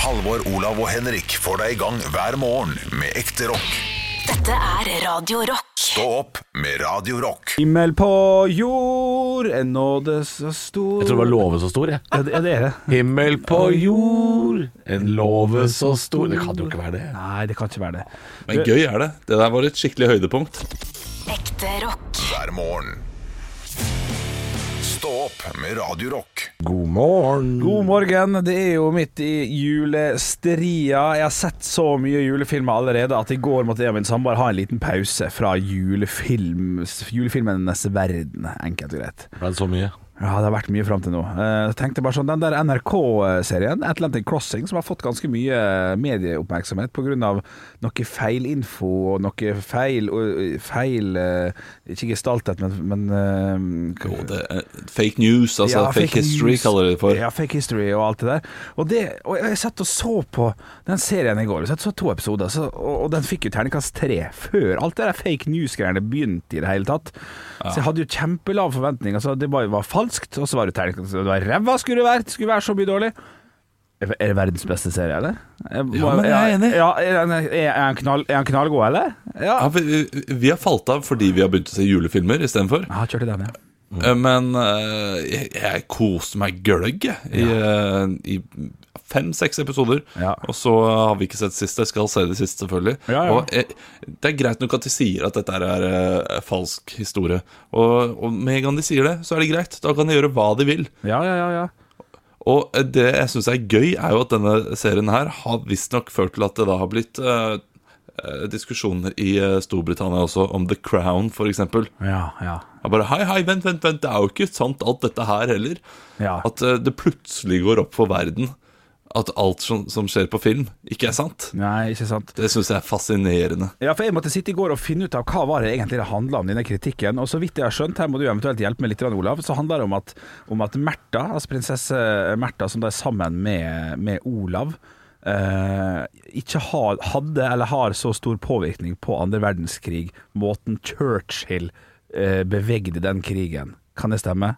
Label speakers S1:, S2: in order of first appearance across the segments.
S1: Halvor, Olav og Henrik får deg i gang hver morgen med ekte rock.
S2: Dette er Radio Rock.
S1: Stå opp med Radio Rock.
S3: Himmel på jord, en nåde så stor
S4: Jeg tror det var låve så stor, jeg.
S3: Ja, det, ja, det er det.
S4: Himmel på jord, en låve så stor Det kan jo ikke være det.
S3: Nei, det kan ikke være det.
S5: Men gøy er det. Det der var et skikkelig høydepunkt.
S2: Ekte rock.
S1: Hver morgen. Stå opp med Radio Rock.
S4: God morgen.
S3: God morgen, det er jo midt i julestria. Jeg har sett så mye julefilmer allerede at i går måtte jeg og min samboer ha en liten pause fra julefilms, julefilmenes verden, enkelt og greit.
S4: Ble det så mye?
S3: Ja, det har vært mye fram til nå. Eh, Jeg tenkte bare sånn, Den der NRK-serien, Atlantic Crossing, som har fått ganske mye eh, medieoppmerksomhet pga. noe feil info og noe feil, og- feil eh, Ikke gestalthet, men, men eh,
S5: Jo, det er fake news, altså
S3: ja,
S5: fake, history,
S3: news.
S5: kaller de det for.
S3: Ja, fake history og alt det der. Og, det, og jeg satt og så på den serien i går. Vi satt og så to episoder, så, og, og den fikk jo terningkast tre før alt det der fake news-greiene begynte i det hele tatt. Så jeg hadde jo kjempelave forventninger. Altså, det var, var falskt, og så var det terningkast Det var ræva skulle det vært, det skulle være så mye dårlig. Er er det verdens beste serie, eller? Jeg må-
S5: Ja, men jeg er enig.
S3: Ja, er han- er han knall, er han knallgod, eller? Ja.
S5: Ja, vi, vi har falt av fordi vi har begynt å se julefilmer istedenfor.
S3: Jeg har kjørt i den, ja.
S5: Eh, Men eh, jeg, jeg koste meg gløgg jeg, i, eh, i fem-seks episoder.
S3: Ja.
S5: Og så har vi ikke sett sist. Jeg skal se det siste, selvfølgelig.
S3: Ja, ja.
S5: Og eh, Det er greit nok at de sier at dette er eh, falsk historie. Og, og med en gang de sier det, så er det greit. Da kan de gjøre hva de vil.
S3: Ja, ja, ja. ja.
S5: Og det jeg syns er gøy, er jo at denne serien her har visstnok ført til at det da har blitt eh, eh, diskusjoner i eh, Storbritannia også, om The Crown f.eks.
S3: ja, ja.
S5: Bare hei, hei, vent, vent, vent, det er jo ikke sant alt dette her heller.
S3: Ja.
S5: At eh, det plutselig går opp for verden at alt som, som skjer på film, ikke er sant.
S3: Nei, ikke sant.
S5: Det syns jeg er fascinerende.
S3: Ja, for jeg måtte sitte i går og finne ut av hva var det egentlig det handla om, denne kritikken. Og så vidt jeg har skjønt, her må du eventuelt hjelpe meg litt, grann, Olav, så handler det om at, om at Märtha, altså prinsesse Märtha, som da er sammen med, med Olav, eh, ikke har, hadde eller har så stor påvirkning på andre verdenskrig, måten Churchill eh, bevegde den krigen. Kan det stemme?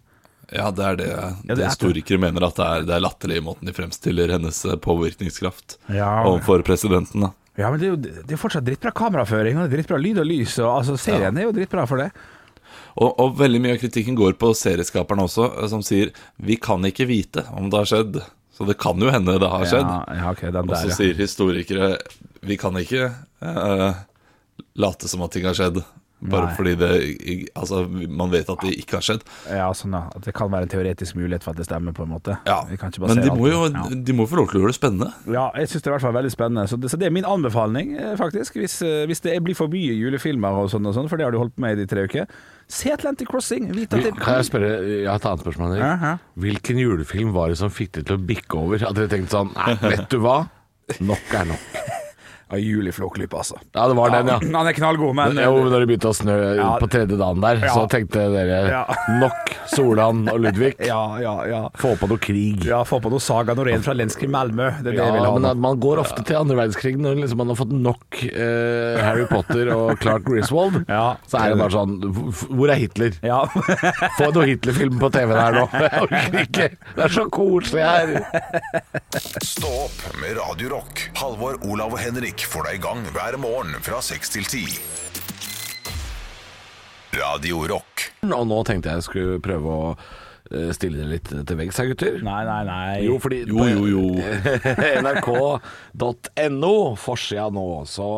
S5: Ja, det er det,
S3: det
S5: det,
S3: er det.
S5: historikere mener, at det er, det er latterlig i måten de fremstiller hennes eh, påvirkningskraft
S3: Ja.
S5: overfor presidenten. da.
S3: Ja, men det er jo det er fortsatt drittbra kameraføring, og det er drittbra lyd og lys, og altså, serien er jo drittbra for det.
S5: Og, og veldig mye av kritikken går på serieskaperne også, eh, som sier vi kan ikke vite om det har skjedd. Så det kan jo hende det har skjedd.
S3: Ja, ja, ok, den
S5: og
S3: der,
S5: så
S3: ja.
S5: sier historikere vi kan ikke eh, late som at ting har skjedd. Bare
S3: Nei.
S5: fordi det, i- altså, man vet at det ikke har skjedd.
S3: Ja, sånn da. At det kan være en teoretisk mulighet for at det stemmer, på en måte. Vi kan ikke
S5: Men
S3: basere
S5: de må
S3: alt-
S5: jo
S3: ja.
S5: de må få lov til å gjøre det spennende.
S3: ja, jeg syns det er i hvert fall veldig spennende. Så det, så det er min anbefaling, eh, faktisk. Hvis, eh, hvis det blir for mye julefilmer og sånn, og sånn for det har du holdt på med i de tre uker. Se Atlantic Crossing! Vit at det
S4: Kan jeg spørre, jeg har et annet spørsmål, Henrik.
S3: Hæ, hæ?
S4: Hvilken julefilm var det som fikk det til å bikke over? At dere tenkte sånn Nei, vet du hva? Nok er nok.
S3: Ja, Juleflåklypa, altså.
S4: Ja, det var den, ja.
S3: Han er knallgod, men
S4: Jo, da det begynte å snø
S3: Ja.
S4: på tredje dagen der, så
S3: Ja.
S4: tenkte dere
S3: Ja.
S4: nok Solan og Ludvig.
S3: eh, Ja, ja, ja.
S4: Få på noe krig.
S3: Ja, Få på noe Saga Norén fra Lenskrim Malmö. Det er det
S4: Ja,
S3: jeg vil ha.
S4: men
S3: nå.
S4: at man går ofte til andre verdenskrig når liksom man har fått nok eh, Harry Potter og Clark Griswold.
S3: Ja.
S4: så er det bare sånn hvor- Hvor er Hitler?
S3: Ja.
S4: Få noe Hitler-film på TV der nå. Jeg orker ikke. Det er så koselig her.
S1: Stå opp med Radio Rock. Halvor, Olav og Henrik får deg i gang hver morgen fra 6 til 10. Radio Rock.
S4: Og nå tenkte jeg jeg skulle prøve å eh, stille dere litt til veggs her, gutter.
S3: Nei, nei, nei.
S4: Jo, fordi
S5: Jo, jo, jo.
S4: nrk.no, forsida nå, så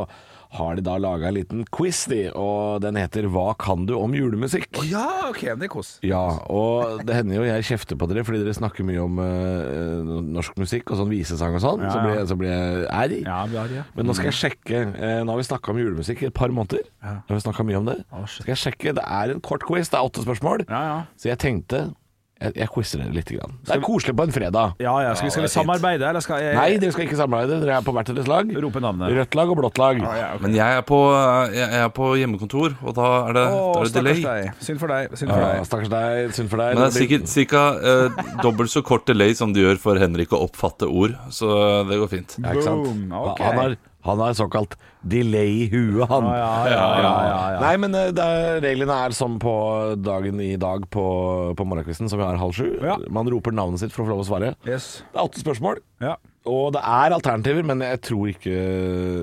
S4: har de da laga en liten quiz, de. Og den heter 'Hva kan du om julemusikk'?
S3: Ja, OK, det er kos.
S4: Ja, og det hender jo jeg kjefter på dere fordi dere snakker mye om eh, norsk musikk og sånn visesang og sånn. Så,
S3: Ja,
S4: blir,
S3: ja.
S4: så blir jeg ærlig.
S3: Ja, vi har det, ja.
S4: Men nå skal jeg sjekke. eh, nå har vi snakka om julemusikk i et par måneder. Nå har vi snakket mye om det
S3: Å, shit.
S4: Skal jeg sjekke, Det er en kort quiz, det er åtte spørsmål.
S3: Ja, ja.
S4: Så jeg tenkte Jeg, jeg quizer dere litt. Grann. Det er koselig på en fredag.
S3: Ja, ja. Skal vi, skal vi
S5: det er fint.
S3: samarbeide, eller skal jeg
S4: Nei, dere skal ikke samarbeide. Dere er på hvert deres lag.
S3: Rope navnet.
S4: Rødt lag og blått lag.
S3: ja, ok.
S5: Men jeg er på, jeg er på hjemmekontor, og da er det, da
S3: Å,
S5: er det
S3: stakkars
S5: delay.
S3: deg. Synd for deg. Synd for
S4: Ja,
S3: deg.
S4: Stakkars deg. Synd for deg.
S5: Men det er
S4: blir-
S5: sikkert ca. dobbelt så kort delay som det gjør for Henrik å oppfatte ord, så det går fint.
S4: Ja, ikke sant?
S3: Boom,
S4: Han-
S3: ok.
S4: han, har, han har såkalt delay i huet, han.
S3: Ja, ja, ja, ja, ja, ja.
S4: Nei, men eh, det er, reglene er som på dagen i dag på, på morgenkvisten, som vi har halv sju.
S3: Ja.
S4: Man roper navnet sitt for å få lov å svare.
S3: Yes.
S4: Det er åtte spørsmål.
S3: Ja.
S4: Og det er alternativer, men jeg tror ikke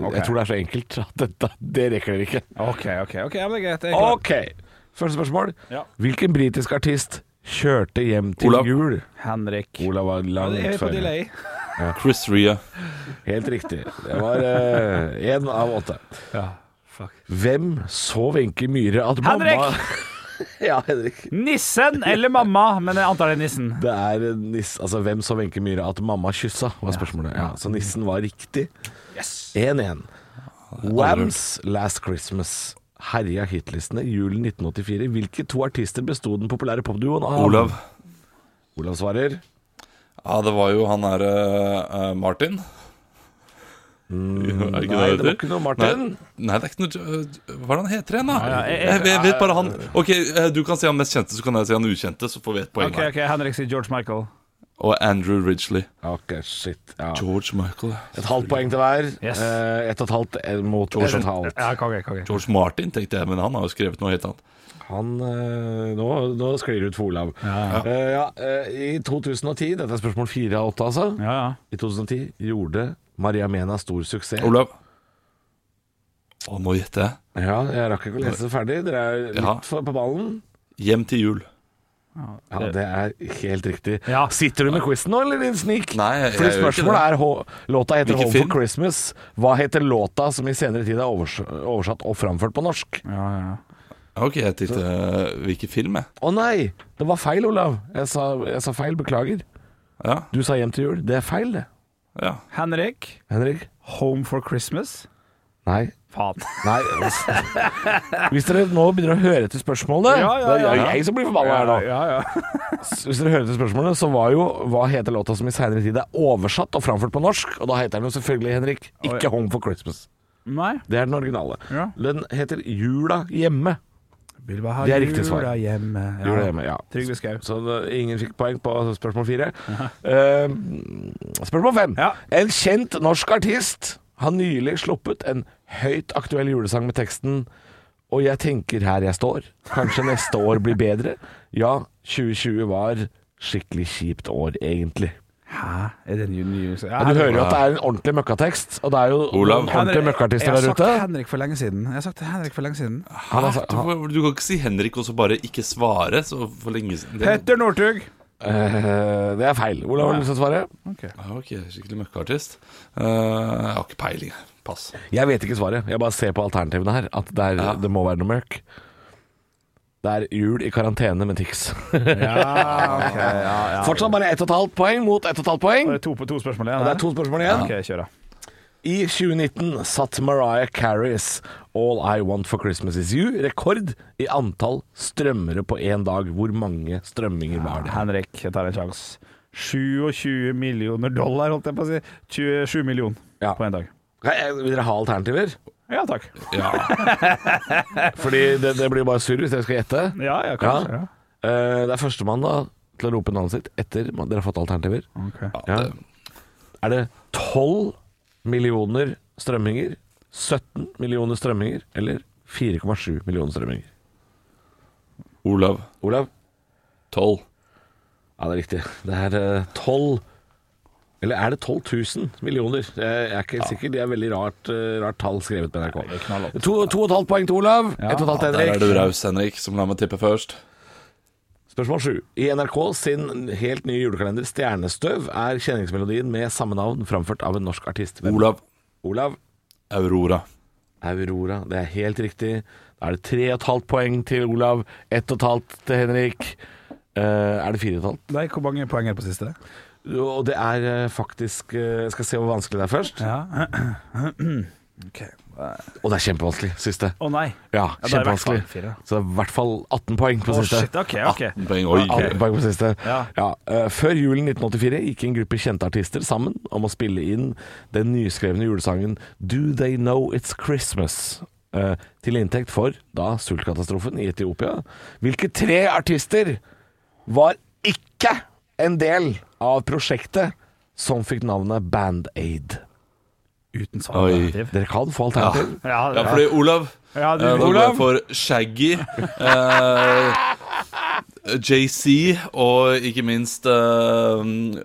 S3: Ok.
S4: Jeg tror det er så enkelt at dette, det rekker dere ikke.
S3: OK, OK. ok, ja, men det er greit. Jeg er klar.
S4: Ok, Første spørsmål.
S3: Ja.
S4: Hvilken britisk artist kjørte hjem til
S5: Olav.
S4: jul?
S3: Henrik.
S4: Olav var
S3: Jeg
S4: langt
S3: er på
S4: før.
S3: delay.
S5: Chris Ria.
S4: Helt riktig. Det var én av åtte.
S3: Ja, fuck.
S4: Hvem så Wenche Myhre at
S3: Henrik!
S4: mamma Ja, Henrik.
S3: Nissen eller mamma, men jeg antar det er nissen.
S4: Det er niss, altså Hvem så Wenche Myhre at mamma kyssa, var spørsmålet. Ja, så nissen var riktig. 1-1. Wams Last Christmas herja hitlistene julen 1984. Hvilke to artister besto den populære popduoen av?
S5: Olav.
S4: Olav svarer
S5: Ja, det var jo han derre Martin. Er ikke
S4: Mm, nei,
S5: det
S4: det var
S5: heter?
S4: ikke noe Martin.
S5: Nei, nei, det er ikke noe øh, Hva er det han heter igjen, da?
S3: ja, jeg-
S5: jeg, vet- vet bare han Ok, eh, Du kan si han mest kjente, så kan jeg si han ukjente, så får vi et poeng
S3: OK,
S5: her.
S3: ok, Henrik sier George Michael.
S5: Og Andrew Ridgely.
S4: Ok, shit. Ja.
S5: George Michael.
S4: Et halvt poeng til hver.
S3: Yes.
S4: Eh, ett og et halvt eh, mot ett og et halvt.
S3: Ja, konge, konge.
S5: George Martin, tenkte jeg, men han har jo skrevet noe helt annet.
S4: Han eh, nå, nå sklir det ut for Olav.
S3: Ja.
S4: Eh, ja, eh, I 2010, dette er spørsmål fire av åtte, altså.
S3: Ja, ja.
S4: I 2010 gjorde Maria Mena stor suksess.
S5: Olav. Å, nå gjetter jeg.
S4: Ja, jeg rakk ikke å lese det ferdig. Dere er litt
S5: Ja.
S4: for, på ballen.
S5: Hjem til jul.
S4: Ja, det er helt riktig.
S3: Ja.
S4: Sitter du med quizen nå, eller din snik?
S5: Nei, jeg-
S4: Fordi
S5: jeg gjør ikke
S4: spørsmålet er hå- Låta heter
S5: Hvilken
S4: 'Home
S5: film?
S4: for Christmas'. Hva heter låta som i senere tid er overs oversatt og framført på norsk?
S3: ja, ja.
S5: Ok, jeg tenkte eh, Hvilken film, jeg?
S4: Å nei! Det var feil, Olav. Jeg sa, jeg sa feil. Beklager.
S5: Ja.
S4: Du sa 'Hjem til jul'. Det er feil, det.
S5: ja.
S3: Henrik,
S4: Henrik?
S3: Home for Christmas.
S4: Nei.
S3: Faen.
S4: Nei Hvis dere nå begynner å høre etter spørsmålet
S3: Ja, ja,
S4: Det
S3: ja.
S4: er jeg som blir forbanna her nå.
S3: Ja, ja.
S4: Hvis dere hører etter spørsmålet, så var jo hva heter låta som i seinere tid er oversatt og framført på norsk? Og da heter den jo selvfølgelig, Henrik, ikke 'Home for Christmas'.
S3: Nei.
S4: Det er den originale.
S3: Ja.
S4: Den heter 'Jula hjemme'.
S3: Vil bare ha
S4: Det er riktig svar.
S3: jula hjemme. Ja.
S4: Jula hjemme, ja.
S3: Trygve Skau.
S4: Så det- ingen fikk poeng på spørsmål fire. Eh, spørsmål fem.
S3: Ja.
S4: En kjent norsk artist har nylig sluppet en høyt aktuell julesang med teksten Og jeg tenker her jeg står. Kanskje neste år blir bedre. Ja, 2020 var skikkelig kjipt år, egentlig.
S3: Hæ? Er det en ny, ny ja,
S4: Ja, du hører
S3: Henrik-
S4: jo at det er en ordentlig møkkatekst, og det er jo
S5: Olav.
S4: noen ordentlige møkkartister
S3: Jeg
S4: der
S3: har
S4: ute.
S3: sagt Henrik for lenge siden. Jeg har sagt Henrik for lenge siden.
S4: Han har
S5: Hæ?
S4: sagt-
S5: Du, får- du kan ikke si Henrik og så bare ikke svare så for lenge siden. Det-
S3: Petter Northug.
S4: Eh, det er feil. Olav, har du lyst til å svare?
S5: Ja, Ok, skikkelig møkkeartist. Eh, jeg har ikke peiling. jeg. Pass.
S4: Jeg vet ikke svaret. Jeg bare ser på alternativene her, at det, er, det må være noe mørk. Det er jul i karantene med Tix. Fortsatt bare ett og et halvt poeng mot ett og et halvt poeng.
S3: Det er to på to spørsmål igjen.
S4: Og det
S3: her.
S4: er to spørsmål igjen.
S3: Ok, kjør da.
S4: I 2019 satt Mariah Carries All I Want For Christmas Is You rekord i antall strømmere på én dag. Hvor mange strømminger var det?
S3: Henrik, jeg tar en sjanse. 27 millioner dollar, holdt jeg på å si. 27 millioner
S4: Ja.
S3: på en dag.
S4: Kan jeg- Vil dere ha alternativer?
S3: Ja takk.
S5: Ja.
S4: Fordi det, det blir bare surr hvis dere skal gjette.
S3: Ja, ja, kanskje.
S4: Ja.
S3: Ja.
S4: Eh, det er førstemann da til å rope navnet sitt etter man- dere har fått alternativer.
S3: Ok.
S4: Ja. Er det 12 millioner strømminger, 17 millioner strømminger eller 4,7 millioner strømminger?
S5: Olav.
S4: Olav?
S5: Tolv.
S4: Ja, det er riktig. Det er eh, 12 Eller er det 12 000 millioner? Eh, Jeg er ikke helt sikker. Det er veldig rart, eh, rart tall skrevet på NRK. To, to og et halvt poeng til Olav. Ett og et halvt til
S5: Der
S4: Henrik.
S5: er du raus, Henrik, som lar meg tippe først.
S4: Spørsmål 7. I NRK sin helt nye julekalender Stjernestøv er kjenningsmelodien med samme navn framført av en norsk artist. Hvem?
S5: Olav.
S4: Olav
S5: Aurora.
S4: Aurora. Det er helt riktig. Da er det tre og et halvt poeng til Olav, ett og et halvt til Henrik. Eh, er det fire og et halvt?
S3: Nei, hvor mange poeng er det på siste?
S4: Og det er eh, faktisk eh, Skal se hvor vanskelig det er først.
S3: Ja. Ok.
S4: Og det er kjempevanskelig, siste.
S3: Å nei.
S4: Ja,
S3: Ja, det er i hvert fall
S4: kjempevanskelig.
S3: fire.
S4: Så det er i hvert fall 18 poeng på
S3: Å
S4: siste.
S3: shit, ok, ok.
S5: Poeng. Oi.
S4: Ja, alt bak på siste.
S3: Ja.
S4: Ja, eh, før julen 1984 gikk en gruppe kjente artister sammen om å spille inn den nyskrevne julesangen 'Do They Know It's Christmas' eh, til inntekt for da sultkatastrofen i Etiopia. Hvilke tre artister var ikke en del av prosjektet som fikk navnet Band Aid?
S3: Uten
S5: Oi.
S3: svaralternativ.
S4: Dere kan få alternativ.
S3: Ja,
S5: Ja, fordi Olav
S3: Ja, du-
S5: eh, da går
S3: Olav.
S5: jeg for Shaggy. Eh, JC og ikke minst eh,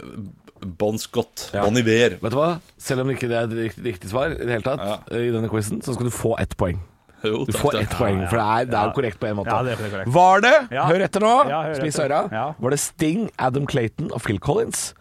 S5: Bon Scott,
S4: Ja.
S5: Bon Iver.
S4: Vet du hva? Selv om ikke det er et riktig, riktig svar i det hele tatt, eh, i denne quizen, så skal du få ett poeng.
S5: Jo,
S4: Du
S5: takk,
S4: får
S5: takk.
S4: ett poeng, for det er, det er jo
S3: Ja.
S4: korrekt på en måte.
S3: Ja, det er korrekt.
S4: Var det,
S3: Ja.
S4: hør etter nå,
S3: Ja, hør
S4: spiss
S3: etter.
S4: øra,
S3: Ja.
S4: var det Sting, Adam Clayton og Phil Collins?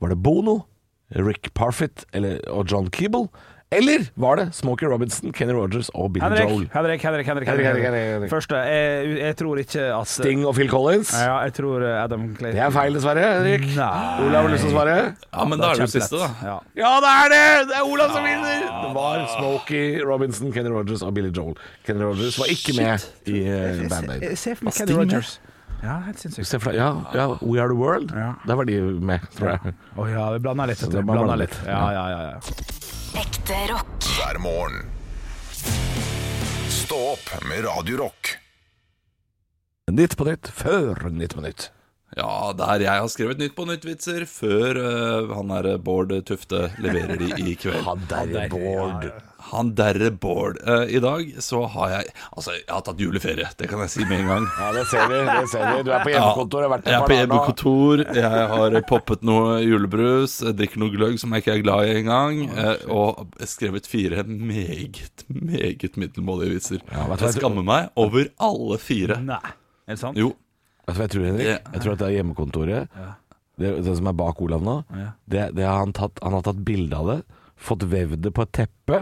S4: Var det Bono, Rick Parfitt eller, og John Keeble? Eller var det Smokey Robinson, Kenny Rogers og Billy Joel?
S3: Henrik, Henrik, Henrik, Henrik,
S4: Henrik, Henrik, Henrik, Henrik.
S3: Første, jeg, jeg tror ikke at
S4: Sting og Phil Collins?
S3: Ja, jeg tror eh, Adam Clayton
S4: Det er feil, dessverre, Henrik.
S3: Nei.
S4: Olav, har du lyst til å svare?
S5: Ja, men da er det jo siste, da.
S3: Ja.
S4: Ja, det er det! Det er Olav som vinner! Det var Smokey Robinson, Kenny Rogers og Billy Joel. Kenny Rogers var ikke med i eh, Band Aid.
S3: Jeg ser for meg
S5: Sting,
S3: Kenny
S5: ja.
S3: Rogers. Ja, helt sinnssykt.
S4: Se for deg, ja, ja, We Are The World.
S3: Ja.
S4: Der var de med, tror jeg.
S3: Å ja, vi blander litt. vet du.
S4: det må
S3: Blander
S4: blande
S3: litt.
S4: litt.
S3: Ja, ja, ja, ja.
S2: Ekte rock.
S1: hver morgen. Stå opp med Radio Rock.
S4: Nytt på nytt før Nytt på nytt.
S5: Ja, der jeg har skrevet Nytt på nytt-vitser før eh, han derre Bård Tufte leverer de i kveld.
S4: Han derre Bård.
S5: Han derre Bård. Eh, I dag så har jeg Altså, jeg har tatt juleferie, det kan jeg si med en gang.
S4: Ja, det ser vi. det ser vi Du er på
S5: Ja,
S4: hjemmekontor og har vært
S5: jeg
S4: der
S5: er
S4: et
S5: på
S4: par dager nå.
S5: hjemmekontor, jeg har poppet noe julebrus, jeg drikker noe gløgg som jeg ikke er glad i engang, eh, og skrevet fire meget, meget middelmådige vitser.
S4: vet du hva
S5: jeg
S4: jeg tror-
S5: skammer meg over alle fire.
S3: Nei, er det sant?
S5: Jo,
S4: Vet du hva jeg tror, Henrik?
S5: Ja.
S4: Jeg tror at det er hjemmekontoret. Det, det som er bak Olav nå, det, det har han, tatt, han har tatt bilde av det. Fått vevd det på et teppe,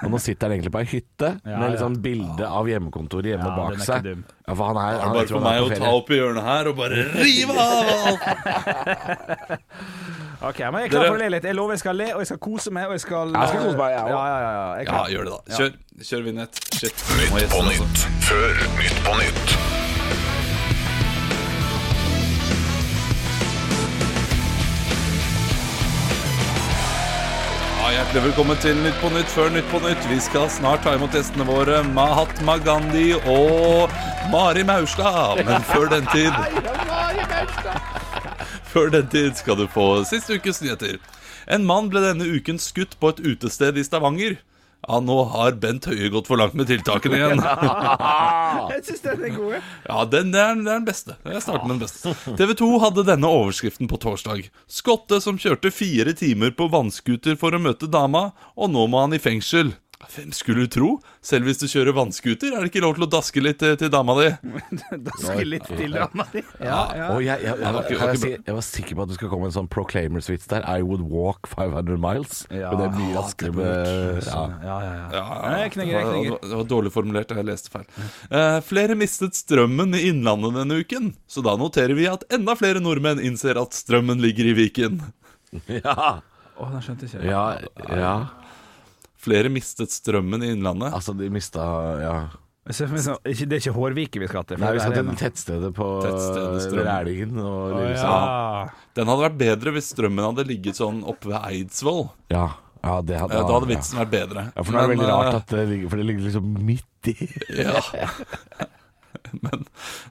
S4: og nå sitter han egentlig på ei hytte med litt
S3: ja.
S4: sånn bilde av hjemmekontoret hjemme
S3: Ja,
S4: bak
S3: den er ikke
S4: seg.
S3: dum.
S4: Ja, for han er, han,
S5: bare
S4: jeg tror han
S5: for meg
S4: er
S5: å
S4: på
S5: ta
S4: ferie.
S5: opp i hjørnet her og bare rive av alt!
S3: Ok, men Jeg er klar for
S5: Dere-
S3: å le litt. Jeg lover jeg skal le, og jeg skal kose meg. Og jeg skal
S4: Jeg skal kose meg, jeg
S3: ja,
S4: også.
S3: ja, ja, ja. Jeg er
S5: Ja,
S3: klar.
S5: gjør det, da. Kjør, kjør vignett. Shit. Må
S1: Nytt
S5: gjeste
S1: på
S5: det, altså.
S1: nytt før Nytt på nytt.
S5: Ja, hjertelig velkommen til Nytt på nytt før Nytt på nytt. Vi skal snart ta imot gjestene våre Mahatma Gandhi og Mari Maurstad. Men før den tid Før den tid skal du få siste ukes nyheter. En mann ble denne uken skutt på et utested i Stavanger. Ja, nå har Bent Høie gått for langt med tiltakene igjen.
S3: Jeg syns den er god. jeg.
S5: Ja, den, det, er, det er den beste. Jeg starter med den beste. TV 2 hadde denne overskriften på torsdag. Skotte som kjørte fire timer på vannskuter for å møte dama, og nå må han i fengsel. Hvem skulle du tro? Selv hvis du kjører vannskuter, er det ikke lov til å daske litt eh, til dama di.
S3: Da skal jeg litt til drama di. Ja, ja.
S4: Og jeg, jeg, jeg,
S5: var
S4: kan
S5: ikke- var
S4: jeg,
S5: ikke
S4: si, jeg var sikker på at du skulle komme med en sånn Proclaimers-vits der. I would walk 500 miles.
S3: Ja.
S4: Men det blir
S5: Ja,
S4: raskere
S5: det
S4: med ja.
S3: Ja, ja, ja.
S5: Ja,
S3: Jeg knekker, jeg knekker.
S5: Det var- Det var dårlig formulert, jeg leste feil. Eh, flere mistet strømmen i Innlandet denne uken, så da noterer vi at enda flere nordmenn innser at strømmen ligger i Viken.
S3: sånn.
S4: Ja.
S3: Å, den skjønte ikke jeg.
S4: ja, ja.
S5: Flere mistet strømmen i Innlandet.
S4: Altså, de mista Ja.
S3: Jeg ser for meg sånn- ikke- Det er ikke Hårvike vi skal til. for
S4: Nei, vi
S3: der
S4: skal
S3: er
S4: til
S3: noe.
S4: tettstedet på
S5: Tettstedet Strømmen.
S4: Rælingen og
S3: Å,
S4: Lillesand.
S3: ja.
S5: Den hadde vært bedre hvis strømmen hadde ligget sånn oppe ved Eidsvoll.
S4: Ja. ja, det hadde
S5: Eh, Da hadde
S4: ja.
S5: vitsen vært bedre.
S4: Ja, for det er det
S5: Men,
S4: veldig
S5: eh,
S4: rart at det ligger For det ligger liksom midt i
S5: Ja. Men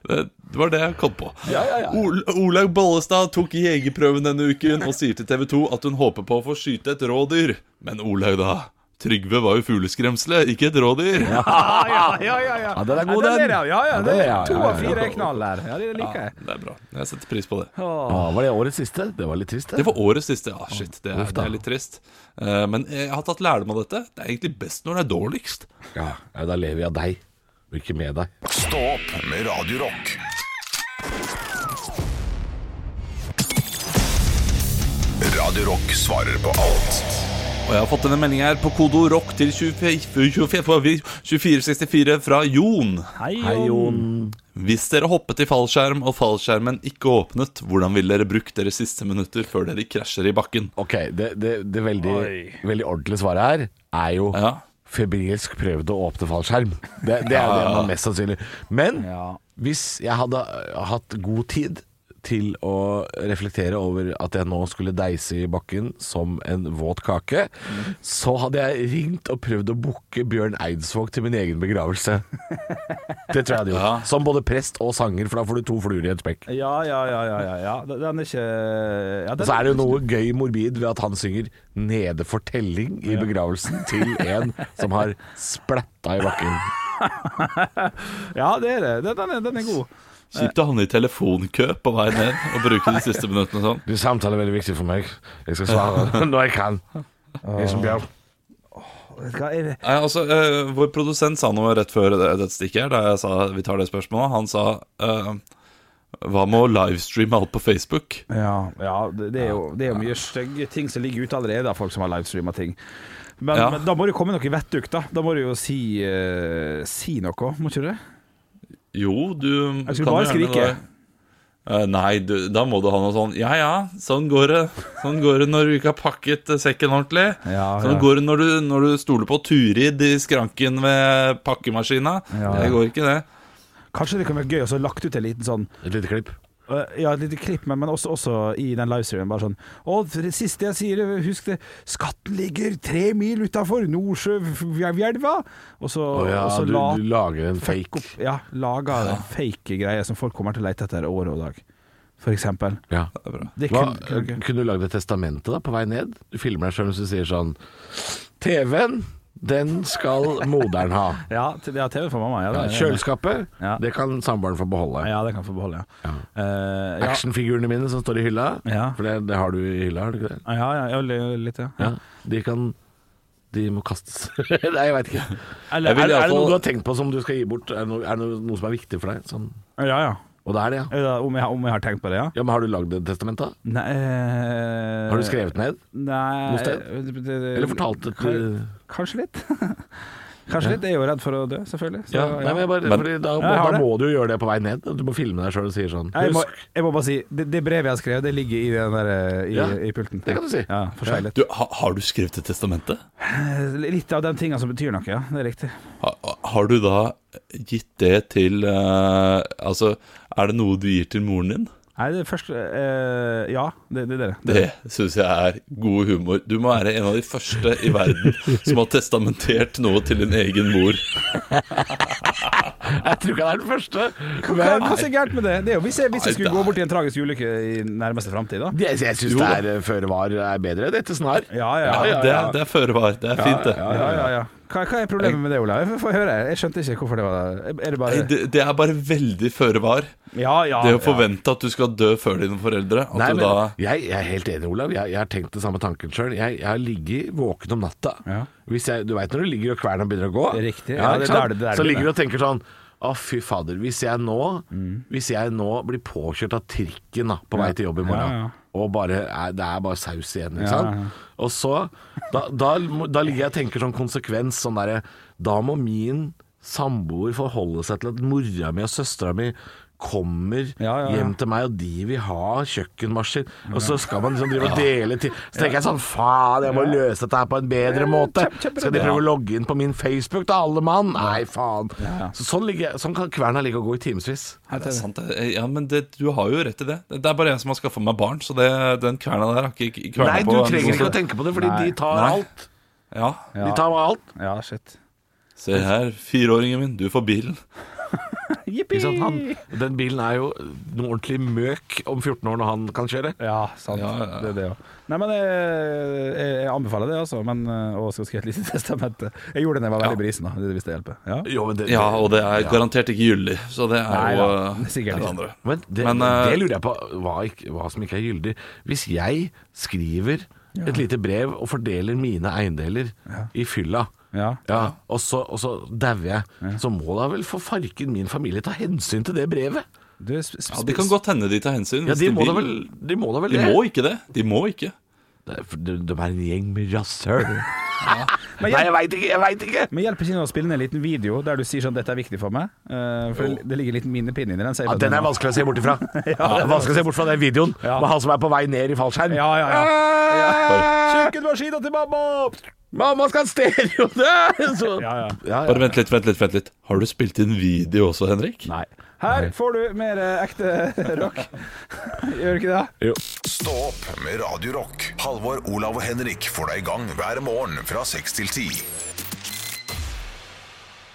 S5: det, det var det jeg kom på.
S4: Ja, ja, ja.
S5: Ol Olaug Bollestad tok jegerprøven denne uken og sier til TV 2 at hun håper på å få skyte et rådyr. Men Olaug, da. Trygve var jo fugleskremselet, ikke et rådyr.
S3: Ah, ja, ja, ja, ja.
S4: Ja, den er god,
S3: Ja,
S4: den.
S3: er det, Ja, ja,
S4: Ja,
S3: det
S4: det-
S3: er
S4: ja,
S3: to
S4: ja, ja.
S3: av fire er knall der. Ja, det liker jeg.
S5: Det er bra. Jeg setter pris på det.
S4: ja, Var det årets siste? Det var litt trist,
S5: Det var årets siste. Ja, shit, det er, det er litt trist. Eh, Men jeg har tatt lærdom av dette. Det er egentlig best når det er dårligst.
S4: Ja, ja, da lever vi av deg, og ikke med deg.
S1: Stå opp med Radio Rock. Radio Rock svarer på alt.
S5: Og jeg har fått denne meldingen her på kodo rock til 2464 fra Jon.
S4: Hei, Jon.
S5: Hvis dere hoppet i fallskjerm og fallskjermen ikke åpnet, hvordan ville dere brukt deres siste minutter før dere krasjer i bakken?
S4: Ok, det, det, det veldig,
S3: Oi.
S4: veldig ordentlige svaret her er jo
S5: Ja.
S4: febrilsk prøvde å åpne fallskjerm. Det, det er det man mest sannsynlig Men
S3: Ja.
S4: hvis jeg hadde eh, hatt god tid til å reflektere over at jeg nå skulle deise i bakken som en våt kake, så hadde jeg ringt og prøvd å booke Bjørn Eidsvåg til min egen begravelse. Det tror jeg hadde gjort.
S5: Ja.
S4: Som både prest og sanger, for da får du to fluer i et spekk.
S3: Ja, ja, ja, ja, ja, ja. Den- Den er ikke ja, den
S4: Og så er det jo noe gøy morbid ved at han synger 'Nede for telling' i begravelsen til en som har splatta i bakken.
S3: Ja, det er det. Den, den, er, den er god.
S5: Kjipt å havne i telefonkø på vei ned og bruke de siste minuttene sånn.
S4: De samtaler er veldig viktig for meg. Jeg skal svare når jeg kan. Hilsen Bjørn.
S3: Vet du hva, jeg-
S5: Nei, altså, eh, Vår produsent sa noe rett før det- dette stikket her, da jeg sa vi tar det spørsmålet. Han sa eh, hva med å livestreame alt på Facebook?
S3: Ja, ja det, det er jo, det er jo mye stygge ting som ligger ute allerede av folk som har livestreama ting. Men,
S5: Ja.
S3: men da må det jo komme noe vettug, da. Da må du jo si, eh, si noe, må ikke du det?
S5: Jo, du
S3: Jeg skulle
S5: kan
S3: bare
S5: jo gjerne
S3: skrike.
S5: det. Eh, nei, du, da må du ha noe sånn Ja ja, sånn går det. Sånn går det når du ikke har pakket eh, sekken ordentlig.
S3: Ja,
S5: sånn
S3: ja.
S5: går det når du, når du stoler på Turid i skranken ved pakkemaskina.
S3: Ja, ja.
S5: Det går ikke, det.
S3: Kanskje det kan være gøy å så lagt ut en liten sånn
S4: Et lite klipp.
S3: øh, Ja, et lite klipp, men, men også, også i den livestreamen. Bare sånn Å, for det siste jeg sier, eh, husk det. Skatten ligger tre mil utafor Nordsjøelva! Og så,
S4: Å ja,
S3: og så
S4: du,
S3: la,
S4: du lager en fake.
S3: ja, laga en fake greie som folk kommer til å lete etter år og dag, for eksempel.
S4: Ja.
S5: det er bra.
S3: Det
S4: Hva,
S3: kunne- kunne-
S4: kunne du lagd et testamente da, på vei ned? Du filmer deg sjøl hvis du sier sånn TV-en, den skal moderen ha.
S3: Ja, t- ja TV for mamma. Ja, det,
S4: Kjøleskapet,
S3: Ja.
S4: det kan samboeren få beholde.
S3: Ja, det kan jeg få beholde, ja. Eh, ja.
S4: Actionfigurene mine som står i hylla,
S3: Ja.
S4: for det, det har du i hylla, har du ikke det?
S3: Ja, ja, ja, li- litt, ja.
S4: Ja. De kan De må kastes. Nei, jeg veit ikke.
S3: Eller,
S5: Jeg
S4: Er,
S5: vil
S4: er det noe
S5: iallfall-
S4: du har tenkt på som du skal gi bort? Er det noe, er det noe- noe som er viktig for deg? Sånn.
S3: ja, ja.
S4: Og det er det, ja.
S3: Er det da- Om jeg, om jeg har tenkt på det, ja?
S4: ja men har du lagd et testament, da?
S3: Nei eh,
S4: Har du skrevet ned?
S3: Nei
S4: noe sted?
S3: eh, det- det-
S4: Eller fortalt det til
S3: Kanskje litt. Kanskje litt. Jeg er jo redd for å dø, selvfølgelig. Så,
S4: ja, nei, men jeg bare,
S5: Men-
S4: fordi da,
S3: Ja, jeg har
S4: da
S3: det.
S4: må du jo gjøre det på vei ned. Du må filme deg sjøl og si sånn
S3: Jeg må,
S4: Husk,
S3: jeg må bare si det, det brevet jeg har skrevet, det ligger i den der eh, i,
S4: Ja,
S3: i pulten.
S4: det kan du si.
S3: Ja, forseglet.
S5: Du, ha, har du skrevet et testamente?
S3: Eh, Litt av de tingene som betyr noe, ja. Det er riktig.
S5: Ha, har du da gitt det til eh, Altså, er det noe du gir til moren din?
S3: Nei, det første eh, Ja, det, det er dere.
S5: Det syns jeg er god humor. Du må være en av de første i verden som har testamentert noe til din egen mor.
S4: Jeg tror ikke han er den første.
S3: Hva
S4: Men
S3: hva er så gærent med det? Det er jo hvis jeg, hvis jeg
S5: Nei,
S3: skulle
S5: det
S3: gå
S5: er-
S3: bort i en tragisk ulykke i nærmeste framtid, da.
S4: jeg, jeg syns
S5: Jo
S4: det
S5: da.
S4: er eh, føre var er bedre. Dette snar.
S3: Ja, ja,
S5: Ja,
S3: ja.
S5: det er, det er føre var. Det er fint, det.
S3: ja, ja, ja. Hva, hva er problemet med det, Olav? Jeg får- får høre. Jeg skjønte ikke hvorfor det var Er det
S5: Nei,
S3: bare
S5: det, det er bare veldig føre var.
S3: Ja, ja.
S5: Det
S3: ja.
S5: å forvente at du skal dø før dine foreldre At
S4: Nei,
S5: du
S4: men,
S5: da
S4: jeg, jeg er helt enig, Olav. Jeg, jeg har tenkt den samme tanken sjøl. Jeg, jeg har ligget våken om natta.
S3: Ja.
S4: Hvis jeg, du veit når du ligger og kverna begynner å gå,
S3: Det er riktig.
S4: Ja,
S3: Ja,
S4: ikke
S3: det-
S4: sant?
S3: det er det- det er
S4: så
S3: det.
S4: ligger du og tenker sånn å, fy fader. Hvis jeg nå Hvis jeg nå blir påkjørt av trikken da, på vei til jobb i morgen,
S3: Ja, ja.
S4: og bare, er, det er bare saus igjen, ikke
S3: Ja,
S4: sant
S3: ja.
S4: Og så da, da, må- da ligger jeg og tenker sånn konsekvens sånn derre Da må min samboer forholde seg til at mora mi og søstera mi kommer
S3: Ja, ja, ja.
S4: hjem til meg, og de vil ha kjøkkenmaskin. Og så skal man liksom drive og dele til Så tenker jeg sånn Faen, jeg må løse dette her på en bedre måte.
S3: kjempe- kjempe-
S4: Skal de
S3: Ja.
S4: prøve å logge inn på min Facebook, da, alle mann? Nei, faen. Så sånn, ligger, jeg- sånn kan kverna ligge og gå i timevis.
S5: Nei, det er sant, det. Ja, men det, du har jo rett i det. Det er bare jeg som har skaffa meg barn, så det, den kverna der har ikke ikke kverna
S4: Nei, du
S5: på
S4: trenger ikke å tenke på det, fordi de tar
S5: Nei.
S4: alt.
S5: Ja.
S4: De tar alt.
S3: sånn- Ja, shit.
S5: Se her, fireåringen min, du får bilen.
S3: Jippi!
S4: Ikke sant? Han, den bilen er jo noe ordentlig møk om 14 år når han kan kjøre.
S3: Ja, sant.
S5: Ja, ja, ja.
S3: Det er det òg. Nei, men jeg, jeg, jeg anbefaler det, altså. Men eh, å skal skrive et lite testamente. Jeg gjorde det da jeg var veldig brisen, da. Det- Hvis det hjelper. Ja.
S4: Jo, men det,
S5: Ja, og det er
S4: Ja.
S5: garantert ikke gyldig, så det er
S3: Nei
S5: jo
S3: da,
S5: eh,
S3: sikkert
S5: det
S3: ikke.
S5: andre.
S4: Men det,
S5: Men, eh,
S4: det lurer jeg på hva, ikk- hva som ikke er gyldig. Hvis jeg skriver et lite brev og fordeler mine eiendeler i fylla,
S3: Ja.
S4: og så, og så dauer jeg, så må da vel for farken min familie ta hensyn til det brevet?
S3: Du, sp sp
S5: Ja, det kan godt hende de tar hensyn.
S4: Ja,
S5: hvis
S4: de må da
S5: vil.
S4: vel, de må da vel
S5: De
S4: det?
S5: må ikke det. De må ikke.
S4: Det er- for De, de er en gjeng med rasshøl.
S3: Men
S4: Nei,
S3: jeg-
S4: jeg veit ikke, jeg veit ikke!
S3: Men hjelper ikke det å spille ned en liten video der du sier sånn 'dette er viktig for meg'? Eh, for det, det ligger en liten minnepinne inni den.
S4: Ja, den er vanskelig å se bort ifra. ja, vanskelig å se bort fra den videoen
S3: Ja.
S4: med han som er på vei ned i fallskjerm.
S3: Ja, ja, ja.
S4: Ah!
S3: Kjøkkenmaskina til mamma!
S4: Mamma skal ha stereo! Så-
S3: Ja, ja.
S4: Ja, ja.
S5: Bare vent litt, vent litt, vent litt. Har du spilt inn video også, Henrik?
S3: Nei. Her får du mer eh, ekte rock. Gjør du ikke det?
S1: Stå opp med Radio Rock. Halvor, Olav og Henrik får deg i gang hver morgen fra 6 til 10.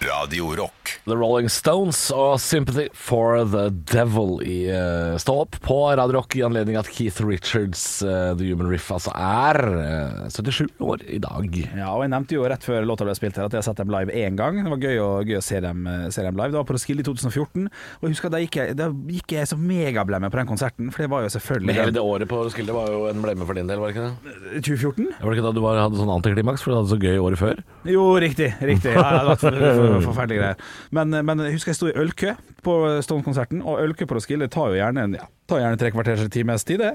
S1: Radio Rock.
S4: The Rolling Stones og Sympathy for the Devil i eh, Stå opp på Radio Rock i anledning at Keith Richards, eh, The Human Riff, altså er eh, 77 år i dag.
S3: Ja, og Jeg nevnte jo rett før låta ble spilt her at jeg har sett dem live én gang. Det var gøy å, gøy å se, dem, eh, se dem live. Det var på Roskilde i 2014. Og jeg husker at Da gikk jeg, da gikk jeg så megablemme på den konserten, for det var jo selvfølgelig
S4: Men hele det året på Roskilde var jo en blemme for din del, var det ikke det?
S3: 2014?
S4: Var det ikke da du var, hadde sånn antiklimaks, for du hadde så gøy året før?
S3: Jo, riktig. riktig ja, Det var for, for, forferdelige greier. Men, men jeg husker jeg sto i ølkø på Stone-konserten, og ølkø på Roskilde tar jo gjerne, en- ja, tar gjerne tre kvarters times tid, det.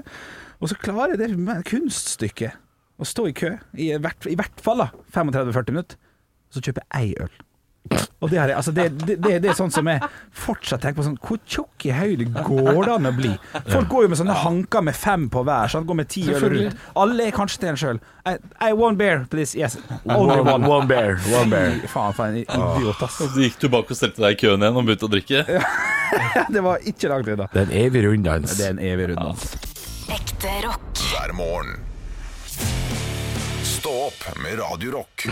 S3: Og så klarer jeg det med kunststykket å stå i kø i hvert, i hvert fall da 35-40 minutter, så kjøper jeg ei øl. Og det, her, er- altså det, det, det, det er sånn som jeg fortsatt tenker på sånn, Hvor tjukk i høyde går det an å bli? Folk går jo med sånne hanker med fem på hver. Sånn, går med ti øl
S4: Selvfølgelig.
S3: rundt. Alle er kanskje til en sjøl. I, I one bear, please. Yes. Only one.
S4: bear. One bear.
S3: Fy faen, for en idiot, ass.
S5: Du gikk tilbake og stelte deg i køen igjen og begynte å drikke?
S3: Det var ikke langt unna.
S4: Det er en evig runddans.
S3: Det er en evig runddans.
S2: Ekte rock.
S1: hver morgen. Stå opp med Radio Rock.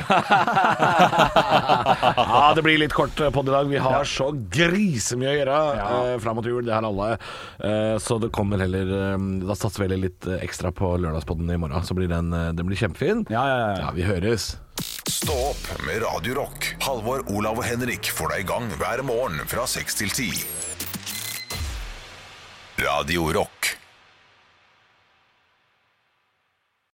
S4: Ja, det blir litt kort på det i dag. Vi har så grisemye å gjøre eh, fram mot jul. Det har alle. Eh, så det kommer heller eh, Da satser vi heller litt eh, ekstra på lørdagspodden i morgen. Så blir den, eh, den blir kjempefin.
S3: Ja, ja, ja.
S4: ja vi høres.
S1: Stå opp med Radio Rock. Halvor, Olav og Henrik får deg i gang hver morgen fra seks til ti. Radio Rock.